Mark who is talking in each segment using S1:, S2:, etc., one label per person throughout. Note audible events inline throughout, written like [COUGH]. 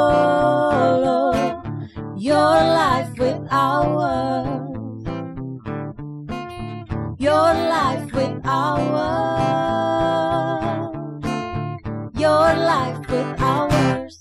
S1: YOLO, your life with ours, your life with ours, your life with ours.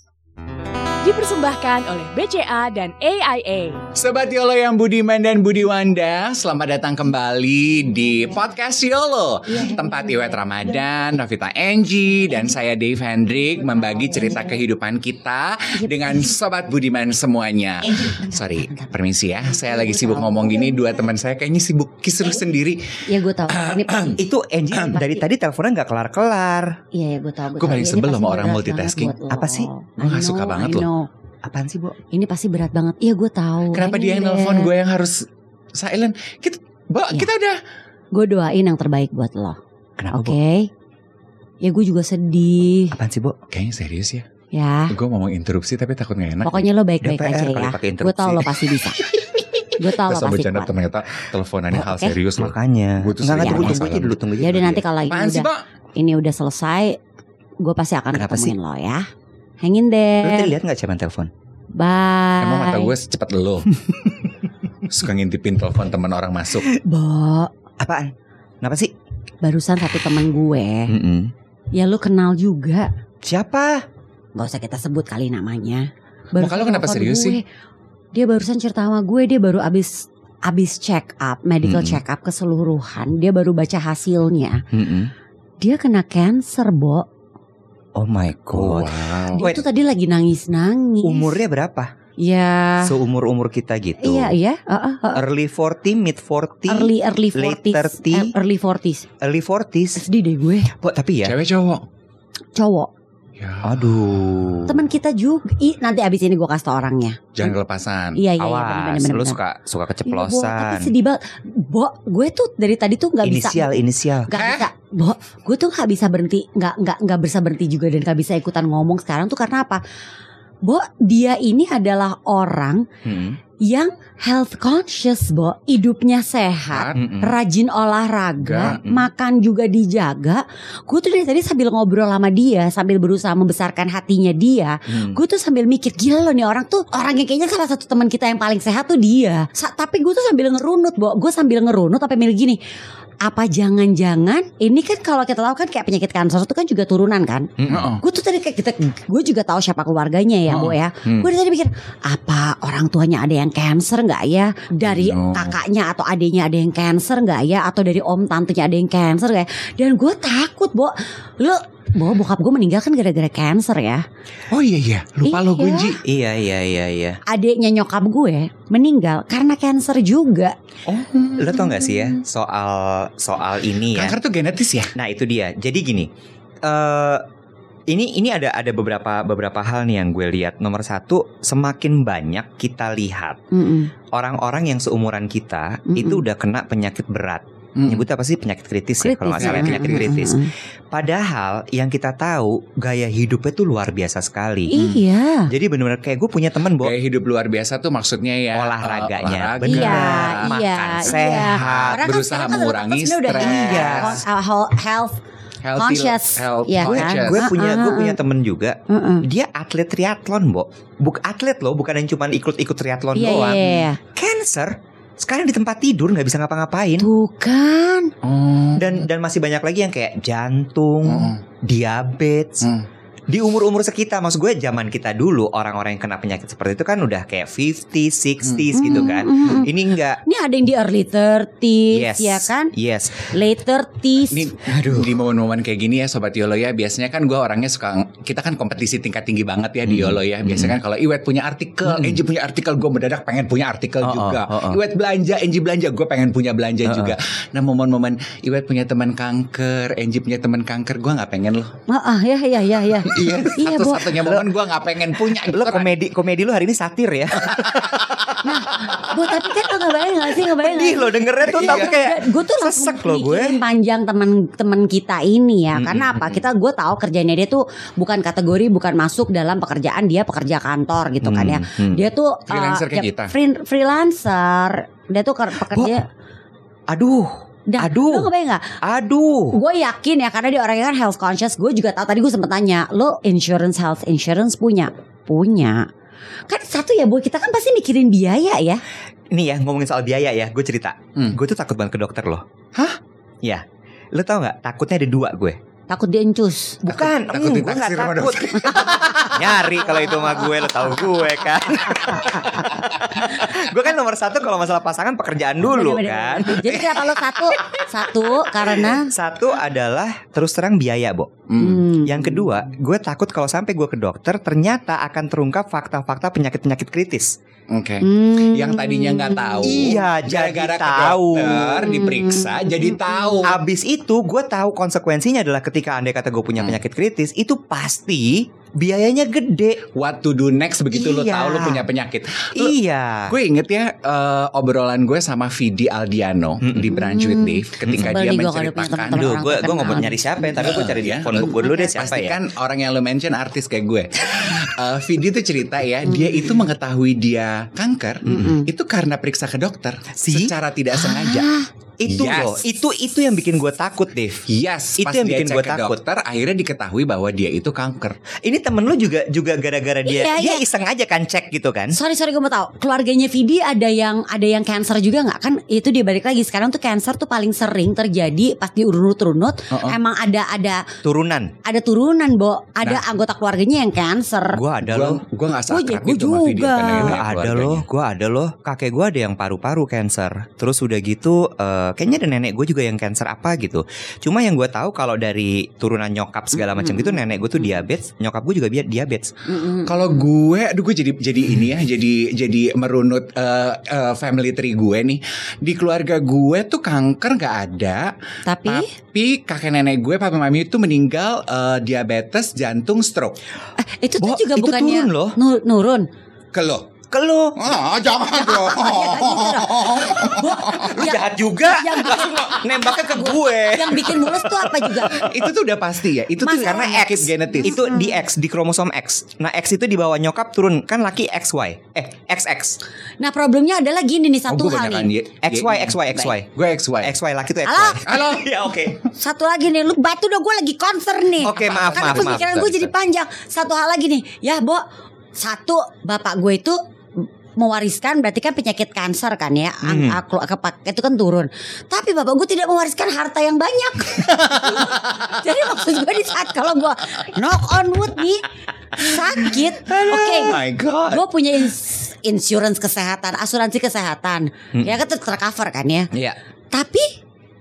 S2: Dipersembahkan oleh BCA dan AIA.
S3: Sobat Yolo yang Budiman dan Budiwanda, selamat datang kembali di podcast Yolo.
S4: Iya.
S3: Tempat Iwet Ramadan, Novita Enji, dan saya Dave Hendrik membagi cerita kehidupan kita dengan Sobat Budiman semuanya. Sorry, permisi ya, saya lagi sibuk ngomong gini, dua teman saya kayaknya sibuk kisruh sendiri.
S4: Ya gue tahu. Iya, Ini pasti.
S5: Itu Angie dari tadi teleponnya nggak kelar-kelar.
S4: Iya ya gue tahu.
S3: Gue paling sebel sama orang multitasking.
S5: Apa sih?
S3: Gue nggak suka banget loh.
S5: Apaan sih, Bo?
S4: Ini pasti berat banget. Iya gue tahu.
S3: Kenapa dia yang nelfon gue yang harus silent? Kita, Bo,
S4: Iya.
S3: kita udah
S4: Gue doain yang terbaik buat lo.
S5: Kenapa,
S4: Oke.
S5: Bo?
S4: Ya gue juga sedih.
S5: Apaan sih, Bo?
S3: Kayaknya serius ya
S4: Ya.
S3: Gue ngomong interupsi tapi takut gak enak
S4: Pokoknya lo baik-baik
S5: DPR
S4: aja
S5: kali
S4: ya.
S5: pakai
S4: Gue
S5: interupsi.
S4: tahu lo pasti bisa. gue tahu lo
S3: Terus sama
S4: pasti
S3: bercanda
S4: kuat.
S3: ternyata teleponannya
S4: Oh,
S3: hal
S4: oke.
S3: serius loh
S5: Makanya.
S3: Gua
S4: sering
S3: tuh
S5: Enggak, tunggu,
S4: ada
S5: tunggu aja
S3: masalah.
S5: dulu, tunggu
S4: Ya
S5: aja.
S4: udah
S5: dulu
S4: nanti
S5: dia.
S4: kalau ini
S3: Apaan sih
S4: udah
S3: Pak?
S4: ini udah selesai, gue pasti akan
S5: Kenapa
S4: ketemuin lo ya. Hangin deh.
S5: Lu tadi lihat nggak cuman telepon?
S4: Bye.
S3: Emang mata gue secepat [LAUGHS] lo Suka ngintipin telepon teman orang masuk
S4: Bo,
S5: Apaan? Kenapa sih?
S4: barusan satu temen gue.
S5: Mm-mm.
S4: Ya lo kenal juga.
S5: Siapa?
S4: Gak usah kita sebut kali namanya.
S3: Muka lo kenapa
S4: telepon gue.
S3: serius sih?
S4: Dia barusan cerita sama gue, dia baru abis abis check up, medical
S5: Mm-mm.
S4: check up keseluruhan, dia baru baca hasilnya.
S5: Mm-mm.
S4: Dia kena cancer, Bo.
S5: Oh my god.
S3: wow
S4: Dia
S5: Wait.
S4: tuh tadi lagi nangis-nangis.
S5: Umurnya berapa?
S4: Ya.
S5: Seumur-umur kita gitu.
S4: Iya, iya. Uh-uh.
S5: Early 40, mid 40,
S4: Early early 40s.
S5: late 30.
S4: Eh, early 40s.
S5: early 40s.
S4: Sedih deh gue.
S5: Bo, tapi ya.
S3: Cewek cowok
S4: Cowok.
S3: Iya. Ya
S5: Aduh.
S4: Teman kita juga. Ih, nanti abis ini gue kasih tau orangnya.
S3: Jangan kelepasan
S4: Iya, iya, iya. bener,
S5: Awas,
S4: bener,
S5: lu
S4: bener.
S5: suka
S4: Iya,
S5: suka
S4: Bo, tapi
S5: keceplosan.
S4: sedih banget. Bo, gue tuh dari tadi tuh gak bisa.
S5: Inisial, inisial.
S4: Gak
S3: Eh?
S4: bisa, Bo, gue tuh gak bisa berhenti, gak, gak, gak bisa berhenti juga dan gak bisa ikutan ngomong sekarang tuh karena apa? Bo, dia ini adalah orang
S5: Mm-mm.
S4: yang health conscious, Bo. Hidupnya sehat,
S3: Hah?
S5: Mm-mm.
S4: rajin olahraga,
S5: Enggak, mm.
S4: makan juga dijaga. Gue tuh dari tadi sambil ngobrol sama dia, sambil berusaha membesarkan hatinya dia.
S5: Mm.
S4: Gue tuh sambil mikir gila loh nih orang tuh orang yang kayaknya salah satu teman kita yang paling sehat tuh dia. Sa- tapi gue tuh sambil ngerunut, Bo. Gue sambil ngerunut sampai milih gini. Apa jangan-jangan ini kan kalau kita tahu kan kayak penyakit kanker itu kan juga turunan kan?
S5: Mm-mm.
S3: Heeh.
S4: Gue tuh tadi kayak kita gue juga tahu siapa keluarganya ya, Bo
S3: Oh.
S4: ya.
S5: Hmm.
S4: Gue dari tadi mikir apa orang tuanya ada yang cancer nggak ya? Dari
S3: No.
S4: kakaknya atau adiknya ada yang cancer nggak ya? Atau dari om tantenya ada yang cancer nggak ya? Dan gue takut, Bo. Lo Bo, bokap gue meninggal kan gara-gara cancer ya.
S3: Oh iya iya Lupa
S4: Iya.
S3: lo gue Ji
S5: Iya, iya, iya, iya.
S4: adiknya nyokap gue meninggal karena cancer juga.
S5: Lo tau gak sih ya soal soal ini ya?
S3: Kanker tuh genetis ya
S5: Nah itu dia. Jadi gini, eh ini ini ada ada beberapa beberapa hal nih yang gue lihat. Nomor satu, semakin banyak kita lihat orang-orang yang seumuran kita
S4: Mm-mm.
S5: itu udah kena penyakit berat.
S3: Mm.
S5: Nyebutnya apa sih penyakit kritis, ya kalau nggak salah
S3: ya.
S5: penyakit kritis. Padahal yang kita tahu gaya hidupnya tuh luar biasa sekali.
S4: Iya.
S5: Jadi benar-benar kayak gue punya temen Bo
S3: Gaya hidup luar biasa tuh maksudnya ya
S5: olahraganya
S3: olahraga,
S5: bener,
S4: Iya,
S5: makan
S4: iya, Orang
S5: sehat.
S4: kan
S3: berusaha
S4: sekarang kan
S3: mengurangi
S4: sebenarnya udah
S3: stres.
S5: Iya.
S4: Uh, whole health
S3: Healthy-
S4: conscious.
S3: health
S4: Iya
S5: Gue,
S4: kan?
S3: conscious.
S5: gue punya gue
S4: Ah,
S5: punya temen juga
S4: Heeh.
S5: dia atlet triathlon, Bo. Buk atlet loh, bukan yang cuma ikut-ikut triathlon
S4: Iya, iya,
S5: doang.
S4: iya.
S5: Cancer sekarang di tempat tidur nggak bisa ngapa-ngapain.
S4: Tuh kan.
S3: Oh.
S5: Dan dan masih banyak lagi yang kayak jantung,
S3: Mm.
S5: diabetes.
S3: Mm.
S5: Di umur-umur sekitar maksud gue zaman kita dulu orang-orang yang kena penyakit seperti itu kan udah kayak 50, 60s gitu kan.
S4: Mm, mm, mm.
S5: Ini enggak
S4: Ini ada yang di early 30s
S5: Yes.
S4: ya kan?
S5: Yes.
S4: Late 30s.
S3: Ini di momen-momen kayak gini ya Sobat Yolo ya Biasanya kan gue orangnya suka Kita kan kompetisi tingkat tinggi banget ya di
S5: Hmm.
S3: Yolo ya Biasanya kan kalau Iwet punya artikel
S5: Hmm.
S3: Enji punya artikel Gue mendadak pengen punya artikel
S5: Oh, oh,
S3: juga
S5: oh, oh.
S3: Iwet belanja Enji belanja Gue pengen punya belanja
S5: Oh, oh.
S3: juga Nah momen-momen Iwet punya teman kanker Enji punya teman kanker Gue gak pengen loh
S4: Ah, ah, ya ya ya ya.
S3: [LAUGHS] Iya
S4: Iya, Bo.
S3: Satu-satunya momen gue gak pengen punya
S4: Eh,
S3: gitu
S5: Lo
S3: kan.
S5: komedi komedi lo hari ini satir ya.
S4: Bu, tapi kan lo ngebayang gak sih
S5: [LAUGHS]
S4: ngebayang nggak
S5: Sedih lo dengernya tuh tapi
S4: Iya.
S5: kayak
S4: gue tuh langsung
S5: sesek loh gue.
S4: mikirin panjang teman-teman kita ini ya
S5: Mm,
S4: karena
S5: mm,
S4: apa
S5: mm.
S4: kita gue tahu kerjanya dia tuh bukan kategori bukan masuk dalam pekerjaan dia pekerja kantor gitu kan ya
S5: Hmm, hmm.
S4: dia tuh uh,
S3: Freelancer kayak
S4: ya,
S3: kita.
S4: free- freelancer dia tuh ker- pekerja
S5: Aduh,
S4: Dah,
S5: Aduh.
S4: Lo kebayang gak?
S5: Aduh.
S4: Gue yakin ya karena dia orangnya kan health conscious. Gue juga tahu tadi gue sempet tanya, lo insurance health insurance punya? Punya. Kan satu ya bu, kita kan pasti mikirin biaya ya.
S5: Ini ya ngomongin soal biaya ya, gue cerita.
S3: Hmm.
S5: Gue tuh takut banget ke dokter loh.
S3: Hah?
S5: Iya. Lo tau nggak? Takutnya ada dua gue.
S4: Takut dia encus.
S5: Bukan,
S3: Takut- takut
S5: mm, gue
S3: ditaksir
S5: nggak
S3: sama
S5: takut. [LAUGHS] Nyari kalau itu sama gue, lo tau gue kan. [LAUGHS] gue kan nomor satu kalau masalah pasangan pekerjaan dulu kan.
S4: Bener-bener. Jadi kenapa lo satu? Satu karena.
S5: Satu adalah terus terang biaya, Bo.
S3: Hmm.
S4: Hmm.
S5: Yang kedua, gue takut kalau sampai gue ke dokter ternyata akan terungkap fakta-fakta penyakit-penyakit kritis.
S3: Oke.
S4: Hmm.
S3: Yang tadinya nggak tahu.
S5: Iya, jadi
S3: gara-gara ke
S5: tahu. Hmm.
S3: dokter diperiksa jadi tahu.
S5: Abis itu gue tahu konsekuensinya adalah ketika andai kata gue punya
S3: Hmm.
S5: penyakit kritis itu pasti biayanya gede.
S3: What to do next begitu lo
S5: Iya.
S3: tahu lo punya penyakit. Lu-
S5: Iya.
S3: Gue inget ya eh, obrolan gue sama Vidi Aldiano
S5: Mm-mm.
S3: di Brunch with
S4: Mm.
S3: Dave ketika
S4: Sebel
S3: dia
S4: nih gue kalau punya
S3: menceritakan
S4: teman-teman.
S5: Aduh,
S4: orang gitu.
S5: gue gue
S4: terkenal.
S5: nggak mau nyari siapa ya, tapi gue cari
S3: Iya.
S5: phone book gue dulu deh siapa ya.
S3: Pastikan orang yang lo mention artis kayak
S5: [LAUGHS]
S3: gue. Eh, Vidi tuh cerita ya, dia itu mengetahui dia kanker
S4: Mm-mm.
S3: itu karena periksa ke dokter
S5: Si? Ah.
S3: secara tidak sengaja.
S5: Itu
S3: Yes.
S5: loh, itu itu yang bikin gue takut, Dave.
S3: Yes,
S5: Itu
S3: pas
S5: yang
S3: dia
S5: bikin
S3: cek
S5: gue
S3: ke
S5: takut.
S3: dokter akhirnya diketahui bahwa dia itu kanker.
S5: Ini temen lu juga juga gara-gara dia
S4: Iya,
S5: dia
S4: iya.
S5: iseng aja kan cek gitu kan?
S4: Ah, Sorry sorry gue mau tahu keluarganya Vidi ada yang ada yang cancer juga nggak kan itu dia balik lagi sekarang tuh cancer tuh paling sering terjadi pas diurut-urut
S5: Oh.
S3: Heeh.
S4: emang ada ada
S5: Turunan.
S4: ada turunan Bo ada
S5: Nah.
S4: anggota keluarganya yang cancer
S5: Gue ada loh.
S3: Gue gue nggak
S4: Gua
S5: iya,
S3: sakrap
S4: juga.
S3: itu sama Vidi karena
S5: Gue
S3: dia
S5: ada
S3: keluarganya.
S5: loh, gue ada loh. Kakek gue ada yang paru-paru cancer. Terus udah gitu, eh, kayaknya ada nenek gue juga yang cancer apa gitu. Cuma yang gue tahu kalau dari turunan nyokap segala macam gitu, nenek gue tuh diabetes, nyokap gue juga dia- diabetes.
S4: Mm-mm.
S3: Kalau gue, aduh gue jadi jadi ini ya, jadi jadi merunut eh, eh, family tree gue nih. Di keluarga gue tuh kanker nggak ada,
S4: tapi
S3: tapi kakek nenek gue, papa mami itu meninggal eh, diabetes, jantung, stroke.
S4: eh, itu tuh
S5: Bo,
S4: juga
S5: itu
S4: bukannya
S5: turun loh.
S4: nu- nurun
S3: Ke lo?
S5: Ke lu,
S3: Ah, jangan
S4: [LAUGHS] Ya,
S3: dong.
S4: kan gitu
S5: [LAUGHS]
S4: Bo,
S5: lu
S4: ya-
S5: jahat juga.
S4: yang bikin
S5: Nembaknya ke gue.
S4: yang bikin mulus tuh apa juga
S3: itu tuh udah pasti ya. Itu tuh
S4: Masalah
S3: karena penyakit
S5: X.
S3: genetis.
S5: Itu di X, di kromosom X. Nah X itu di bawah nyokap turun, kan laki XY. Eh, XX.
S4: nah problemnya adalah gini
S5: Oh,
S4: nih satu
S3: gue
S4: hal
S3: banyakan
S4: nih
S3: kan, ye-
S5: XY,
S3: ye-
S5: XY, XY.
S3: Gue XY.
S5: XY laki tuh XY. [LAUGHS]
S4: Alah.
S3: Halo.
S5: ya oke.
S4: Satu lagi nih, lu batu dong gue lagi konser nih.
S5: Oke, maaf,
S4: Karena
S5: maaf,
S4: pemikiran
S5: maaf.
S4: gue jadi panjang. Satu hal lagi nih, ya Bo. Satu, bapak gue itu mewariskan berarti kan penyakit kanker kan ya Ang-
S5: Hmm.
S4: aku- kepak- itu kan turun tapi bapak gue tidak mewariskan harta yang
S5: [LAUGHS]
S4: banyak jadi maksud gue di saat kalau gue knock on wood nih sakit oke
S3: Oh my god.
S4: gue punya ins- insurance kesehatan asuransi kesehatan
S5: Hmm.
S4: ya kan ter- tercover kan ya
S5: Iya.
S4: tapi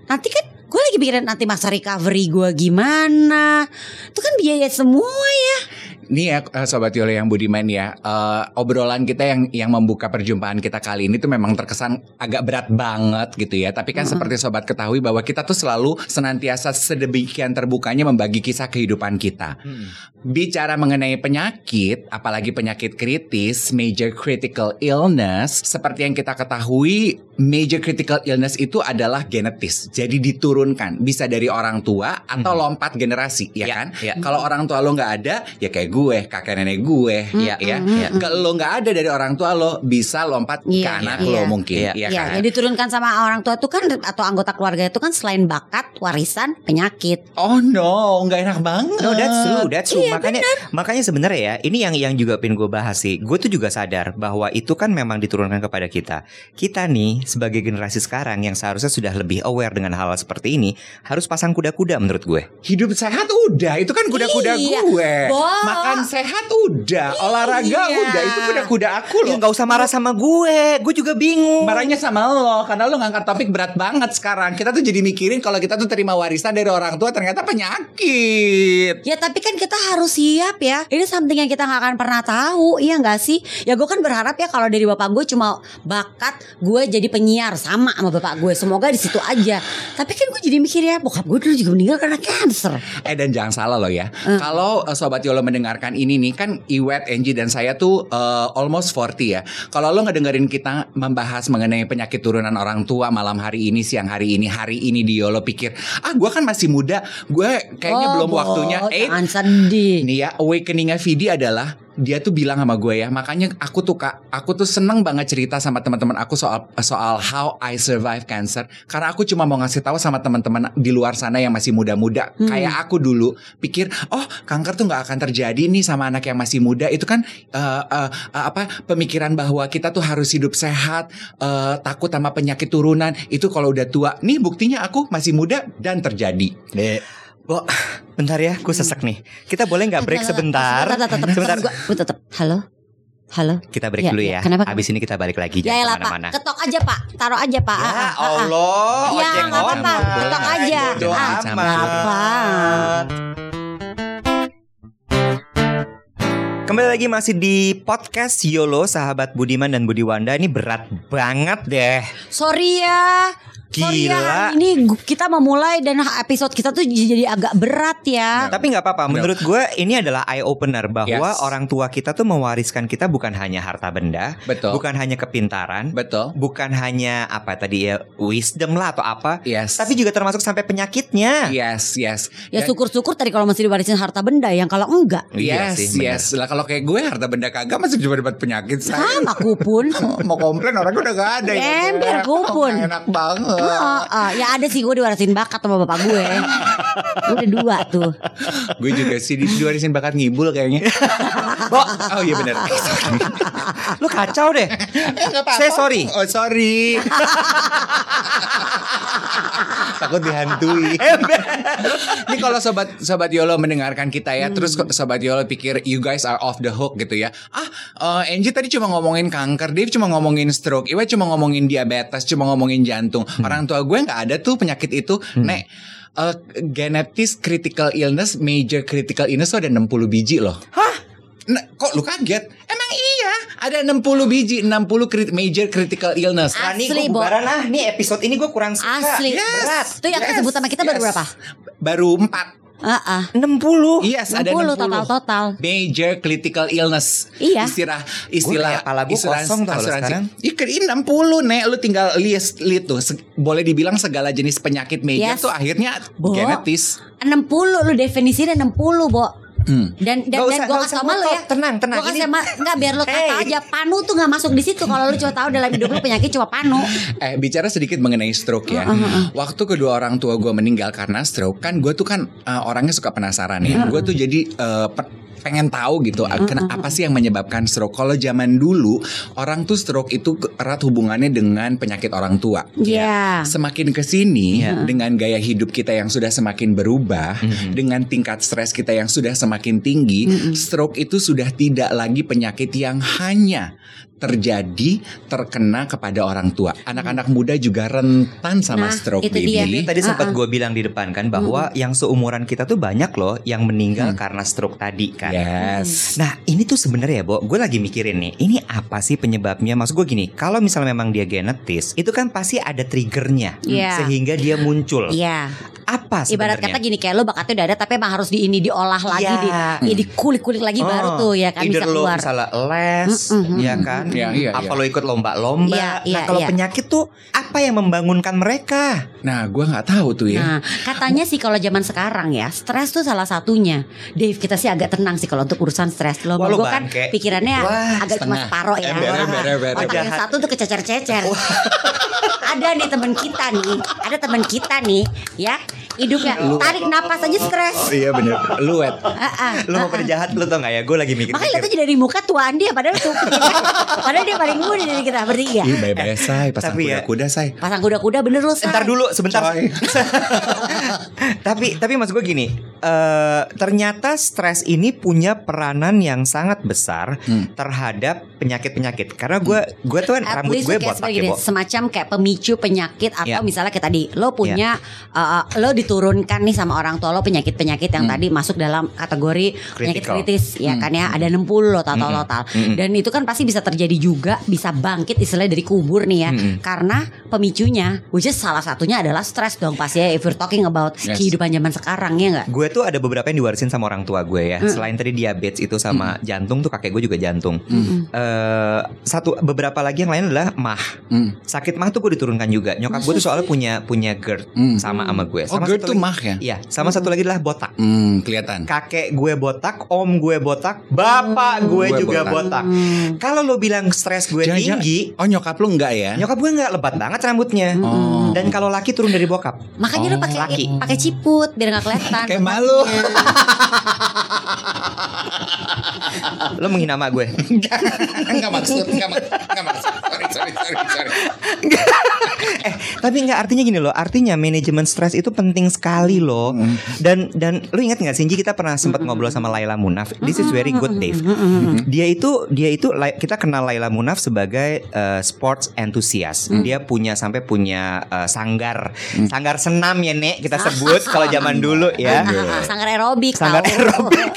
S4: nanti kan gue lagi pikirin nanti masa recovery gue gimana Itu kan biaya semua ya
S3: Nih ya eh, Sobat Yolo yang budiman ya eh, Obrolan kita yang yang membuka perjumpaan kita kali ini tuh memang terkesan agak berat banget gitu ya Tapi kan seperti Sobat ketahui bahwa kita tuh selalu senantiasa sedemikian terbukanya membagi kisah kehidupan kita Bicara mengenai penyakit, apalagi penyakit kritis, major critical illness, seperti yang kita ketahui, major critical illness itu adalah genetis. Jadi diturunkan, bisa dari orang tua atau
S5: Mhm.
S3: lompat generasi, ya
S5: Iya,
S3: kan?
S5: iya.
S3: Kalau orang tua lo nggak ada, ya kayak gue, kakek nenek gue, ya. ya. Kalau lo nggak ada dari orang tua lo, bisa lompat ke
S4: Iya,
S3: anak
S4: iya.
S3: lo mungkin,
S5: Iya.
S3: ya
S4: Iya,
S3: kan?
S4: yang diturunkan sama orang tua itu kan atau anggota keluarga itu kan selain bakat warisan penyakit
S3: Oh no, nggak enak banget.
S5: No, that's true, that's true.
S4: Iya,
S5: makanya, makanya sebenarnya ya, ini yang yang juga pengen gue bahas sih. Gue tuh juga sadar bahwa itu kan memang diturunkan kepada kita. Kita nih sebagai generasi sekarang yang seharusnya sudah lebih aware dengan hal-hal seperti ini, harus pasang kuda-kuda menurut gue.
S3: Hidup sehat udah, itu kan kuda-kuda
S4: Iya.
S3: gue.
S4: Bo.
S3: Makan sehat udah, olahraga
S4: Iya.
S3: udah, itu kuda-kuda aku
S5: Lu
S3: loh.
S5: nggak usah marah sama gue, gue juga bingung.
S3: Marahnya sama lo karena lo ngangkat topik berat banget sekarang. Kita tuh jadi mikirin kalau kita tuh terima warisan dari orang tua ternyata penyakit.
S4: ya tapi kan kita harus siap ya ini something yang kita nggak akan pernah tahu iya nggak sih ya gue kan berharap ya kalau dari bapak gue cuma bakat gue jadi penyiar sama sama bapak gue semoga di situ aja tapi kan gue jadi mikir ya bokap gue dulu juga meninggal karena cancer
S3: Eh dan jangan salah lo ya. Kalau eh, sobat Yolo mendengarkan ini nih kan Iwet, Enji dan saya tuh eh, almost 40 ya. Kalau lo ngedengerin kita membahas mengenai penyakit turunan orang tua malam hari ini, siang hari ini, hari ini di Yolo pikir, "Ah, gua kan masih muda. Gue kayaknya
S4: Oh,
S3: belum
S4: Bo,
S3: waktunya." Eh,
S4: jangan sedih
S3: ini ya awakeningnya Vidi adalah dia tuh bilang sama gue ya, makanya aku tuh Kak, aku tuh seneng banget cerita sama teman-teman aku soal soal how I survive cancer karena aku cuma mau ngasih tahu sama teman-teman di luar sana yang masih muda-muda
S4: Hmm.
S3: kayak aku dulu pikir oh kanker tuh nggak akan terjadi nih sama anak yang masih muda itu kan eh, eh, eh, apa pemikiran bahwa kita tuh harus hidup sehat eh, takut sama penyakit turunan itu kalau udah tua nih buktinya aku masih muda dan terjadi
S5: Bentar ya, gue sesek nih. Kita boleh nggak ya, break sebentar?
S4: Tetap, tetap,
S5: Sebentar.
S4: tetap, Gua tetap. Halo, halo.
S5: Kita break
S4: Iya,
S5: dulu
S4: iya.
S5: ya.
S4: Kenapa?
S5: Abis ini kita balik lagi
S4: Ya
S5: jangan
S4: elah
S5: kemana-mana.
S4: pak, ketok aja pak, taruh aja pak. Ah,
S5: Ya
S4: ah, ah, ah.
S5: Allah,
S4: Ya,
S5: ojek
S4: nggak apa-apa,
S5: online.
S4: ketok aja.
S5: Bodoh
S3: Ah,
S5: amat.
S4: apa?
S5: Kembali lagi masih di podcast YOLO Sahabat Budiman dan Budi Wanda Ini berat banget deh
S4: Sorry ya. Sorry ya,
S5: Gila
S4: hari ini gu- kita memulai dan episode kita tuh j- jadi agak berat ya.
S5: Nah, Tapi nggak apa-apa Menurut gue ini adalah eye opener Bahwa
S3: Yes.
S5: orang tua kita tuh mewariskan kita bukan hanya harta benda
S3: betul
S5: Bukan hanya kepintaran
S3: betul
S5: Bukan hanya apa tadi ya Wisdom lah atau apa
S3: yes
S5: Tapi juga termasuk sampai penyakitnya
S3: yes yes
S4: Ya syukur-syukur tadi kalau masih diwarisin harta benda, yang kalau enggak
S5: Iya
S3: Yes,
S5: sih, bener.
S3: yes. Lah kalau kayak gue harta benda kagak masih cuma dapat penyakit saya.
S4: sama
S5: [LAUGHS]
S4: kupun.
S3: Mau komplain orang udah gak ada ya.
S4: Ember,
S3: Gue.
S4: kupun.
S3: Oh, enak banget.
S4: Ah, ah, ya ada sih gue diwarisin bakat sama bapak gue. Udah dua tuh.
S3: gue juga sih di diwarisin bakat ngibul kayaknya. Bo. Oh iya benar.
S5: Lu kacau deh Saya sorry
S3: Oh sorry. [LAUGHS] Takut [LAUGHS] dihantui. Ini kalau sobat sobat Yolo mendengarkan kita ya, terus kok sobat Yolo pikir you guys are off the hook gitu ya. Ah, eh, Angie tadi cuma ngomongin kanker, Dave cuma ngomongin stroke, Iwa cuma ngomongin diabetes, cuma ngomongin jantung. Orang tua gue nggak ada tuh penyakit itu. Nek, eh, genetis critical illness, major critical illness tuh ada 60 biji loh. Nah, kok lu kaget? Emang iya, ada 60 biji, 60 crit- major critical illness.
S4: Ah,
S5: Rani
S4: Asli,
S5: gue
S4: Bo.
S5: bubaran ah Nih episode ini gue kurang suka
S4: Asli.
S5: Berat
S4: Itu yang kesebut sama kita baru
S3: yes.
S4: berapa?
S3: Baru 4.
S4: Ah, ah.
S5: 60
S3: Yes, ada
S4: 60
S3: 60
S4: total total.
S3: Major critical illness.
S4: Iya.
S3: Istilah istilah
S5: kayak kepala gua kosong tau loh sekarang.
S3: Ih, ke- ini 60 nek lu tinggal list list tuh. Se- boleh dibilang segala jenis penyakit major
S4: Yes.
S3: tuh akhirnya
S4: Bo.
S3: genetis.
S4: 60 lu definisinya 60 bo
S3: Hmm.
S4: dan dan,
S5: Nggak
S4: dan
S5: usah-
S4: gue
S5: nggak
S4: kasih
S5: usah
S4: sama lu
S5: ngotot.
S4: ya
S5: Tenang, tenang.
S4: gue kasih
S5: Ini-
S4: sama nggak biar lu kata
S5: Hey.
S4: aja panu tuh nggak masuk di situ kalau lu cuma tahu dalam hidup lu penyakit cuma
S5: [LAUGHS]
S4: panu
S3: Eh bicara sedikit mengenai stroke ya. Waktu kedua orang tua gue meninggal karena stroke kan gue tuh kan uh, orangnya suka penasaran ya. Gue tuh jadi uh, pe- pengen tahu gitu uh, kena- apa sih yang menyebabkan stroke. Kalau zaman dulu orang tuh stroke itu ke- erat hubungannya dengan penyakit orang tua.
S4: Iya
S3: Semakin ke sini dengan gaya hidup kita yang sudah semakin berubah,
S4: Hmm.
S3: dengan tingkat stres kita yang sudah semakin tinggi, stroke itu sudah tidak lagi penyakit yang hanya terjadi terkena kepada orang tua. Anak-anak muda juga rentan
S4: Hmm.
S3: sama
S4: Nah,
S3: stroke
S4: itu dia.
S3: baby.
S5: Tadi
S4: ah.
S5: sempat gue bilang di depan kan
S4: Mhm.
S5: bahwa yang seumuran kita tuh banyak loh yang meninggal karena stroke tadi kan.
S4: Hmm.
S3: Yes.
S5: Nah ini tuh sebenarnya Bo, gue lagi mikirin nih, ini apa sih penyebabnya? Maksud gue gini, kalau misalnya memang dia genetis, itu kan pasti ada triggernya,
S4: Iya.
S5: Hmm, sehingga dia muncul.
S4: Iya,
S5: Apa
S4: ibarat kata
S5: sebenarnya?
S4: gini kayak lu bakatnya udah ada tapi emang harus di ini diolah lagi
S5: Iya.
S4: di, ya, dikulik-kulik lagi
S5: Oh,
S4: baru tuh ya kan
S5: either
S4: bisa
S5: lo
S4: keluar.
S5: misalnya les,
S4: Mm-mm,
S5: ya kan?
S3: Iya, iya,
S5: apa
S3: iya.
S5: lo ikut lomba-lomba?
S4: Iya, iya,
S5: nah kalau
S4: iya.
S5: penyakit tuh apa yang membangunkan mereka?
S3: Nah, gua nggak tahu tuh
S5: Iya.
S3: ya.
S4: Nah, katanya sih kalau zaman sekarang ya, stres tuh salah satunya. Dave, kita sih agak tenang sih kalau untuk urusan stres. Lo
S5: Wah, lo
S4: gue kan
S5: bangke.
S4: pikirannya
S5: Wah,
S4: agak cuma
S3: setengah.
S4: separoh ya.
S3: Ember, ember, ember,
S4: Otak yang
S5: ember.
S4: satu tuh kececer-cecer. [LAUGHS] ada nih teman kita nih, ada teman kita nih, ya hidupnya tarik napas aja stres.
S3: iya bener. Lu Wet.
S4: Ah, ah,
S5: Lo
S4: ah,
S5: mau pada jahat lo tau gak ya? Gue lagi
S4: ah.
S5: mikir.
S4: Makanya lihat aja dari muka tuaan dia padahal tuh [LAUGHS] padahal dia paling muda dari kita bertiga.
S5: Iya.
S3: Ih, bye-bye, say. Pasang
S5: Tapi ya-
S3: kuda-kuda, say.
S4: Pasang kuda-kuda bener lu. Sar.
S5: Ntar dulu sebentar.
S3: Coy.
S5: [LAUGHS] tapi tapi maksud gue gini, eh, ternyata stres ini punya peranan yang sangat besar
S3: Hmm.
S5: terhadap penyakit-penyakit. Karena gue gue tuh kan
S4: Mm. At
S5: rambut
S4: least
S5: gue
S4: kayak
S5: botak
S4: sebagai
S5: ya,
S4: gini,
S5: Bo.
S4: semacam kayak pemicu penyakit atau
S5: Ya.
S4: misalnya kayak tadi lo punya uh, lo diturunkan nih sama orang tua lo penyakit-penyakit
S5: Hmm.
S4: yang tadi masuk dalam kategori penyakit
S5: Critical.
S4: kritis ya
S5: Hmm.
S4: kan ya ada 60 lo total total
S5: Mm-mm.
S4: dan itu kan pasti bisa terjadi juga bisa bangkit istilahnya dari kubur nih ya
S5: Mm-mm.
S4: karena pemicunya which is salah satunya adalah stres dong pasti ya if we're talking about
S3: Yes.
S4: kehidupan zaman sekarang ya enggak
S5: Gue tuh ada beberapa yang diwarisin sama orang tua gue
S4: Mm.
S5: ya. Selain tadi diabetes itu sama jantung tuh kakek gue juga jantung.
S3: Hmm.
S4: Hmm.
S5: Eh, satu beberapa lagi yang lain adalah mah.
S3: Hmm.
S5: Sakit mah tuh gue diturunkan juga. Nyokap gue tuh soalnya punya punya GERD
S3: Hmm.
S5: sama sama gue.
S3: Oh,
S5: Sama
S3: gue
S5: satu
S3: tuh
S5: lagi-
S3: mah ya?
S5: Iya, sama satu lagi adalah botak.
S3: Hmm, kelihatan.
S5: Kakek kakek gue botak, om gue botak, bapak gue
S3: Oh, Gue
S5: juga
S3: botak.
S5: botak. Kalau lo bilang stres gue
S3: Jangan-jangan-
S5: tinggi,
S3: Oh nyokap lu enggak ya?
S5: nyokap gue nggak lebat banget rambutnya.
S3: Oh.
S5: Dan kalau laki turun dari bokap.
S4: Makanya lu
S3: Oh,
S4: pakai
S5: laki.
S4: pakai ciput biar gak
S5: [LAUGHS]
S4: kelihatan.
S3: Kayak malu.
S5: Lo menghina mak
S3: [LAUGHS]
S5: gue.
S3: Enggak maksud, enggak maksud, enggak maksud. Sorry, sorry, sorry, sorry.
S5: eh, tapi nggak artinya gini loh. Artinya manajemen stres itu penting sekali loh. Dan dan lo ingat nggak Sinji kita pernah sempat ngobrol sama Laila Munaf. This is very good, Dave.
S4: Hmm,
S5: Hmm. Dia itu dia itu Lai- kita kenal Laila Munaf sebagai eh, sports enthusiast. Dia punya sampai punya eh, sanggar, sanggar senam ya Nek kita sebut kalau zaman dulu ya.
S4: [LAUGHS] Ah, ah, sanggar aerobik
S5: Sanggar
S4: tahu. [LAUGHS]
S5: aerobik.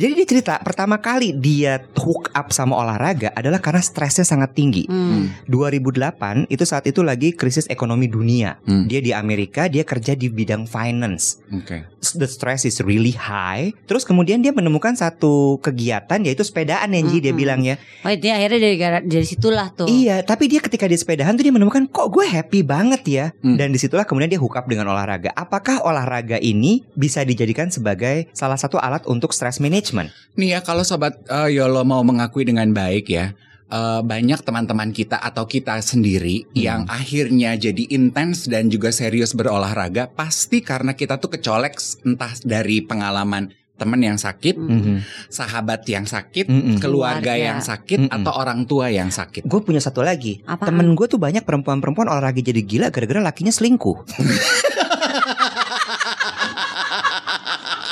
S5: Jadi dia cerita pertama kali dia hook up sama olahraga adalah karena stresnya sangat tinggi.
S4: Hmm.
S5: 2008 itu saat itu lagi krisis ekonomi dunia.
S3: Hmm.
S5: Dia di Amerika, dia kerja di bidang finance.
S3: Oke.
S5: The stress is really high. Terus kemudian dia menemukan satu kegiatan yaitu sepedaan Nenji dia
S4: Mhm.
S5: bilang ya.
S4: Oh, itu akhirnya dari gara- dari situlah tuh.
S5: Iya, tapi dia ketika di sepedahan tuh dia menemukan kok gue happy banget ya.
S3: Hmm.
S5: Dan disitulah kemudian dia hook up dengan olahraga. Apakah olahraga ini bisa dijadikan sebagai salah satu alat untuk stress management?
S3: Nih ya kalau sobat eh, Yolo mau mengakui dengan baik ya eh, banyak teman-teman kita atau kita sendiri yang akhirnya jadi intens dan juga serius berolahraga pasti karena kita tuh kecolek entah dari pengalaman teman yang sakit,
S4: Hmm.
S5: Mhm.
S3: sahabat yang sakit,
S5: Mm-mm.
S3: keluarga
S4: Keluarga.
S3: yang sakit
S5: Mm-mm.
S3: atau orang tua yang sakit.
S5: Gue punya satu lagi.
S4: Apaan?
S5: Temen gue tuh banyak perempuan-perempuan olahraga jadi gila gara-gara lakinya selingkuh.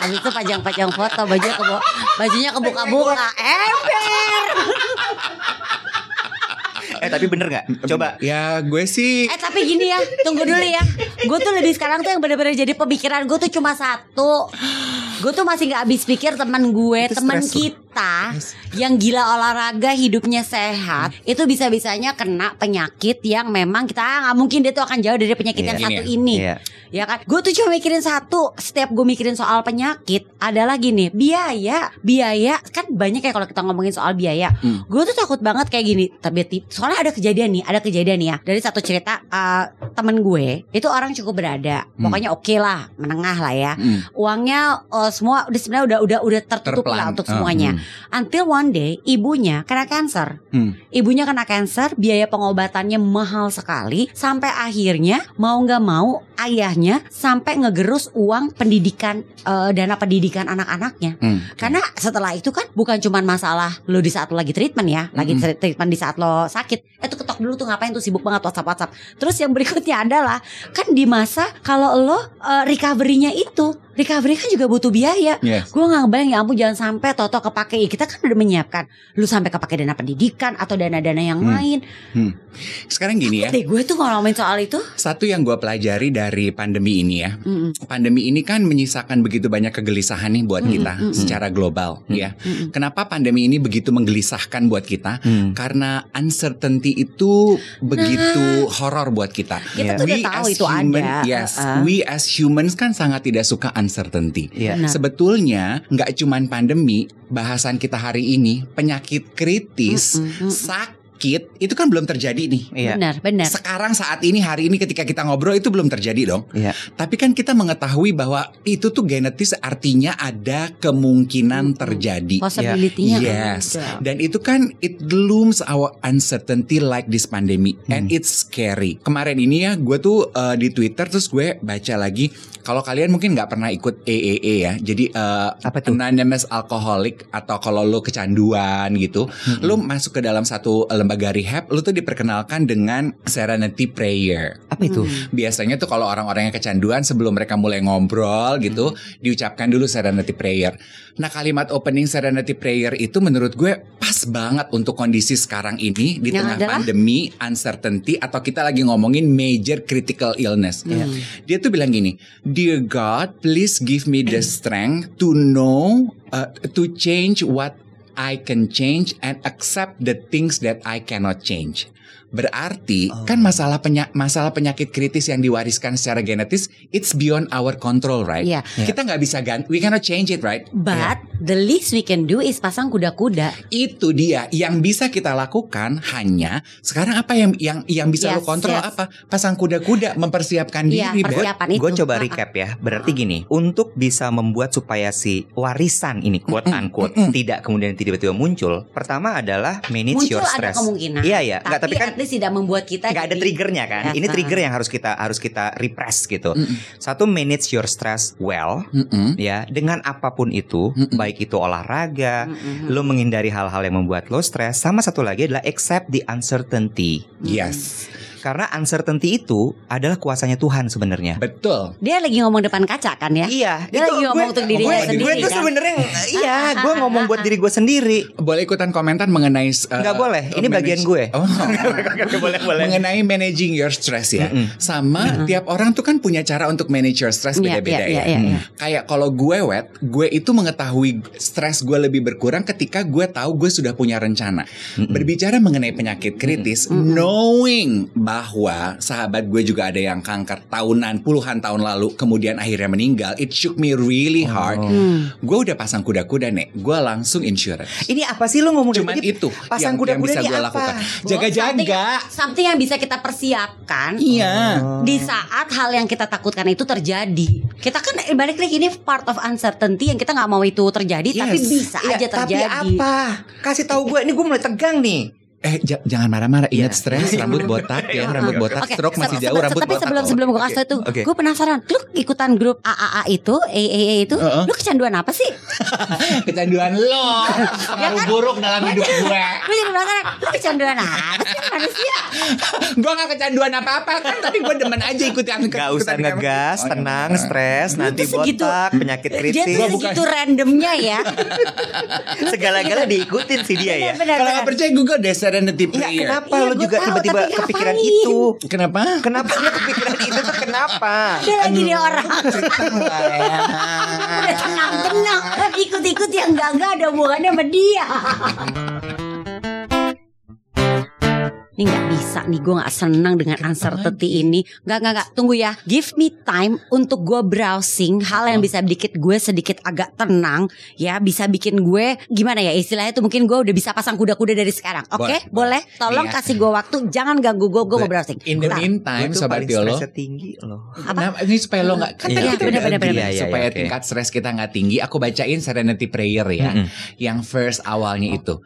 S4: Habis itu pajang-pajang foto bajunya kebo bajunya kebuka-buka. Ember.
S5: Eh tapi bener nggak? Coba.
S3: Ya gue sih
S4: Eh tapi gini ya, tunggu dulu ya. Gue tuh lebih sekarang tuh yang bener-bener jadi pemikiran gue tuh cuma satu. Gue tuh masih nggak habis pikir teman gue,
S5: Itu
S4: teman
S5: stres loh.
S4: kita yang gila olahraga, hidupnya sehat, itu bisa-bisanya kena penyakit yang memang kita ah, nggak mungkin dia tuh akan jauh dari penyakit
S5: Iya,
S4: yang
S3: ini
S4: satu
S3: ya.
S4: ini.
S5: Iya.
S4: Ya kan? Gue tuh cuma mikirin satu Setiap gue mikirin soal penyakit Adalah gini Biaya Biaya Kan banyak ya kalau kita ngomongin soal biaya
S3: Hmm.
S4: Gue tuh takut banget kayak gini Tapi tip- soalnya ada kejadian nih Ada kejadian nih ya Dari satu cerita eh, Temen gue Itu orang cukup berada
S3: Hmm.
S4: Pokoknya oke lah Menengah lah ya
S3: mm,
S4: Uangnya eh, semua udah sebenarnya udah udah udah tertutup lah
S3: terpelan
S4: untuk
S3: Eh,
S4: semuanya
S3: mm,
S4: Until one day Ibunya kena cancer
S3: mm.
S4: Ibunya kena kanker, biaya pengobatannya mahal sekali sampai akhirnya mau nggak mau ayahnya sampai ngegerus uang pendidikan eh, dana pendidikan anak-anaknya.
S3: Hmm.
S4: Karena setelah itu kan bukan cuma masalah lo di saat lo lagi treatment ya, lagi
S3: Mm-mm.
S4: tre- treatment di saat lo sakit. Eh tuh ketok dulu tuh ngapain tuh sibuk banget WhatsApp WhatsApp. Terus yang berikutnya adalah kan di masa kalau lo eh, recovery-nya itu, recovery kan juga butuh biaya.
S3: Yes.
S4: Gue gak ngebayang ya ampun jangan sampai Toto kepake Kita kan udah menyiapkan Lu sampai kepake dana pendidikan Atau dana-dana yang
S3: Hmm.
S4: lain
S3: Sekarang gini ya,
S4: Deh gue tuh kalau ngomongin soal itu
S3: satu yang gue pelajari dari pandemi ini ya,
S4: Mm-mm,
S3: pandemi ini kan menyisakan begitu banyak kegelisahan nih buat
S4: Mm-mm,
S3: kita
S4: mm-mm.
S3: secara global
S5: Mm-mm.
S3: ya.
S4: mm-mm.
S3: Kenapa pandemi ini begitu menggelisahkan buat kita?
S5: Hmm.
S3: Karena uncertainty itu begitu horor buat kita.
S4: Nah. Kita
S5: Iya.
S4: tuh udah tahu
S3: as
S4: itu
S3: human-
S4: ada
S3: Yes,
S4: Heeh.
S3: we as humans kan sangat tidak suka uncertainty.
S5: Iya.
S4: Benar.
S3: Sebetulnya nggak cuman pandemi, bahasan kita hari ini penyakit kritis,
S4: Mm-mm, mm-mm.
S3: sakit itu kan belum terjadi nih.
S5: Iya.
S4: Benar, benar
S3: Sekarang saat ini hari ini ketika kita ngobrol itu belum terjadi dong.
S5: Iya.
S3: Tapi kan kita mengetahui bahwa itu tuh genetis artinya ada
S4: Mm-mm.
S3: kemungkinan terjadi.
S4: Possibility-nya
S3: Yes.
S4: ada.
S3: Dan itu kan it looms our uncertainty like this pandemic and
S5: Hmm.
S3: it's scary. Kemarin ini ya gue tuh uh, di Twitter terus gue baca lagi kalau kalian mungkin nggak pernah ikut AAA ya. Jadi uh,
S5: Apa tuh?
S3: Anonymous Alcoholic atau kalau lo kecanduan gitu,
S5: Mm.
S3: lo masuk ke dalam satu lembaga rehab, lo tuh diperkenalkan dengan Serenity Prayer
S5: Apa itu?
S4: Hmm.
S3: biasanya tuh kalau orang-orang yang kecanduan sebelum mereka mulai ngobrol gitu
S4: Hmm.
S3: diucapkan dulu serenity prayer. Nah kalimat opening serenity prayer itu menurut gue pas banget untuk kondisi sekarang ini di
S4: Yang
S3: tengah
S4: adalah?
S3: pandemi, uncertainty atau kita lagi ngomongin major critical illness.
S5: Iya.
S4: Hmm.
S3: Dia tuh bilang gini, Dear God, please give me the strength to know, uh, to change what I can change and accept the things that I cannot change. Berarti
S5: Oh.
S3: kan masalah penya- masalah penyakit kritis yang diwariskan secara genetis it's beyond our control, right?
S4: Iya.
S3: Kita nggak bisa ganti, we cannot change it, right?
S4: But
S5: Iya.
S4: the least we can do is pasang kuda-kuda.
S3: Itu dia yang bisa kita lakukan hanya sekarang apa yang yang yang bisa lo
S4: Yes,
S3: kontrol
S4: yes.
S3: apa? Pasang kuda-kuda, mempersiapkan
S4: Iya,
S3: diri, Beb.
S4: persiapan itu.
S5: Gue coba
S4: Ah, ah.
S5: recap ya. Berarti gini, untuk bisa membuat supaya si warisan ini quote unquote tidak kemudian tiba-tiba muncul, pertama adalah manage
S4: Muncul
S5: your
S4: ada
S5: stress.
S4: kemungkinan.
S5: Iya iya,
S4: Tapi,
S5: nggak tapi kan
S4: at least tidak membuat kita
S5: nggak ada
S4: jadi-
S5: triggernya kan.
S4: Ya,
S5: Ini
S4: ah. Mm.
S5: trigger yang harus kita harus kita repress gitu.
S3: Mm-mm.
S5: Satu manage your stress well
S3: Mm-mm.
S5: ya dengan apapun itu,
S3: Mm-mm.
S5: baik itu olahraga,
S4: Mm-mm.
S5: lo menghindari hal-hal yang membuat lo stres. Sama satu lagi adalah accept the uncertainty.
S3: Yes,
S5: Karena uncertainty itu adalah kuasanya Tuhan sebenarnya.
S3: betul.
S4: Dia lagi ngomong depan kaca kan ya?
S5: Iya,
S4: Dia lagi ngomong untuk dirinya
S5: gue,
S4: sendiri,
S5: Gue tuh
S4: kan? Ah,
S5: sebenarnya iya, gue ngomong buat diri gue sendiri.
S3: Boleh ikutan komentar mengenai uh,
S5: Nggak boleh, ini
S3: manage-
S5: bagian [LAUGHS] gue.
S3: Oh.
S5: boleh, boleh.
S3: mengenai managing your stress ya.
S5: Mm-mm.
S3: Sama tiap orang tuh kan punya cara untuk manage your stress
S4: Iya,
S3: beda-beda
S4: iya,
S3: ya.
S4: iya, iya.
S3: Kayak kalau gue wet, gue itu mengetahui stres gue lebih berkurang ketika gue tahu gue sudah punya rencana. Berbicara mengenai penyakit kritis, knowing bahwa sahabat gue juga ada yang kanker tahunan, puluhan tahun lalu, kemudian akhirnya meninggal, it shook me really
S5: Oh.
S3: hard.
S5: Mm.
S4: Hmm.
S3: Gue udah pasang kuda-kuda nek, gue langsung insurance.
S5: Ini apa sih lo ngomong
S3: Cuman
S5: dikit?
S3: itu yang,
S5: pasang
S3: yang
S5: kuda-kuda
S3: bisa
S5: ini
S3: gue
S5: apa?
S3: lakukan. Jaga-jaga.
S4: Something, Nah, something yang bisa kita persiapkan
S3: Iya.
S5: Oh.
S4: di saat hal yang kita takutkan itu terjadi. Kita kan eh, balik lagi ini part of uncertainty yang kita nggak mau itu terjadi, tapi
S3: Yes.
S4: bisa
S5: Iya,
S4: aja
S5: tapi
S4: terjadi.
S5: apa? Kasih tahu gue, ini gue mulai tegang nih.
S3: Eh ja- jangan marah-marah ingat
S5: Iya.
S3: stres rambut botak ya rambut botak
S4: Iya. Oke,
S3: stroke masih
S4: se-
S3: jauh
S4: se-
S3: rambut
S4: Tapi
S3: botak.
S4: sebelum
S3: loh.
S4: sebelum gue kasih tau itu,
S5: Oke.
S4: gue penasaran. Lu ikutan grup AAA itu, AAA itu,
S3: Heeh.
S4: lu kecanduan apa sih?
S3: kecanduan
S4: [LAUGHS]
S3: lo
S4: kan-
S3: pengaruh buruk dalam hidup gue.
S4: Gue jadi penasaran. Lu kecanduan apa sih manusia?
S3: gue gak kecanduan apa-apa kan tapi gue demen aja ikut yang
S5: Gak usah ngegas, tenang, stres, nanti
S4: tuh segitu-
S5: botak, penyakit
S4: Dia tuh
S5: kritis,
S3: bukan-
S4: segitu gitu. randomnya ya.
S5: segala-gala diikutin sih dia ya.
S4: Benar-benar.
S3: Kalau nggak percaya Google deh Serenity
S5: Enggak,
S3: Prayer.
S5: kenapa
S4: Iya,
S5: lo
S4: gue
S5: juga
S4: tahu,
S5: tiba-tiba
S4: tapi
S5: kepikiran
S4: ngapain?
S5: itu?
S3: Kenapa?
S5: Kenapa lo kepikiran itu tuh kenapa?
S4: Dia lagi dia orang. Udah tenang-tenang. Ikut-ikut yang enggak-enggak ada hubungannya sama dia. Ini nggak bisa nih gue nggak senang dengan uncertainty ini Nggak nggak nggak Tunggu ya Give me time Untuk gue browsing Hal yang bisa bikin gue sedikit agak tenang Ya bisa bikin gue Gimana ya istilahnya tuh mungkin gue udah bisa pasang kuda-kuda dari sekarang Oke boleh
S3: Boleh,
S4: Tolong
S3: Iya.
S4: kasih gue waktu Jangan ganggu gue Gue mau browsing
S3: In the
S4: Bentar.
S3: meantime
S5: Gue tuh
S3: Sobat
S5: paling
S3: Yolo
S5: stresnya tinggi loh.
S3: Kenapa? Ini supaya lo gak Kan tadi
S5: Iya,
S3: kita
S5: iya,
S3: udah
S5: bener,
S3: agree
S5: bener, bener.
S3: Supaya
S5: Iya, iya,
S3: tingkat stres kita gak tinggi Aku bacain Serenity Prayer ya
S5: Mm-mm.
S3: Yang first awalnya itu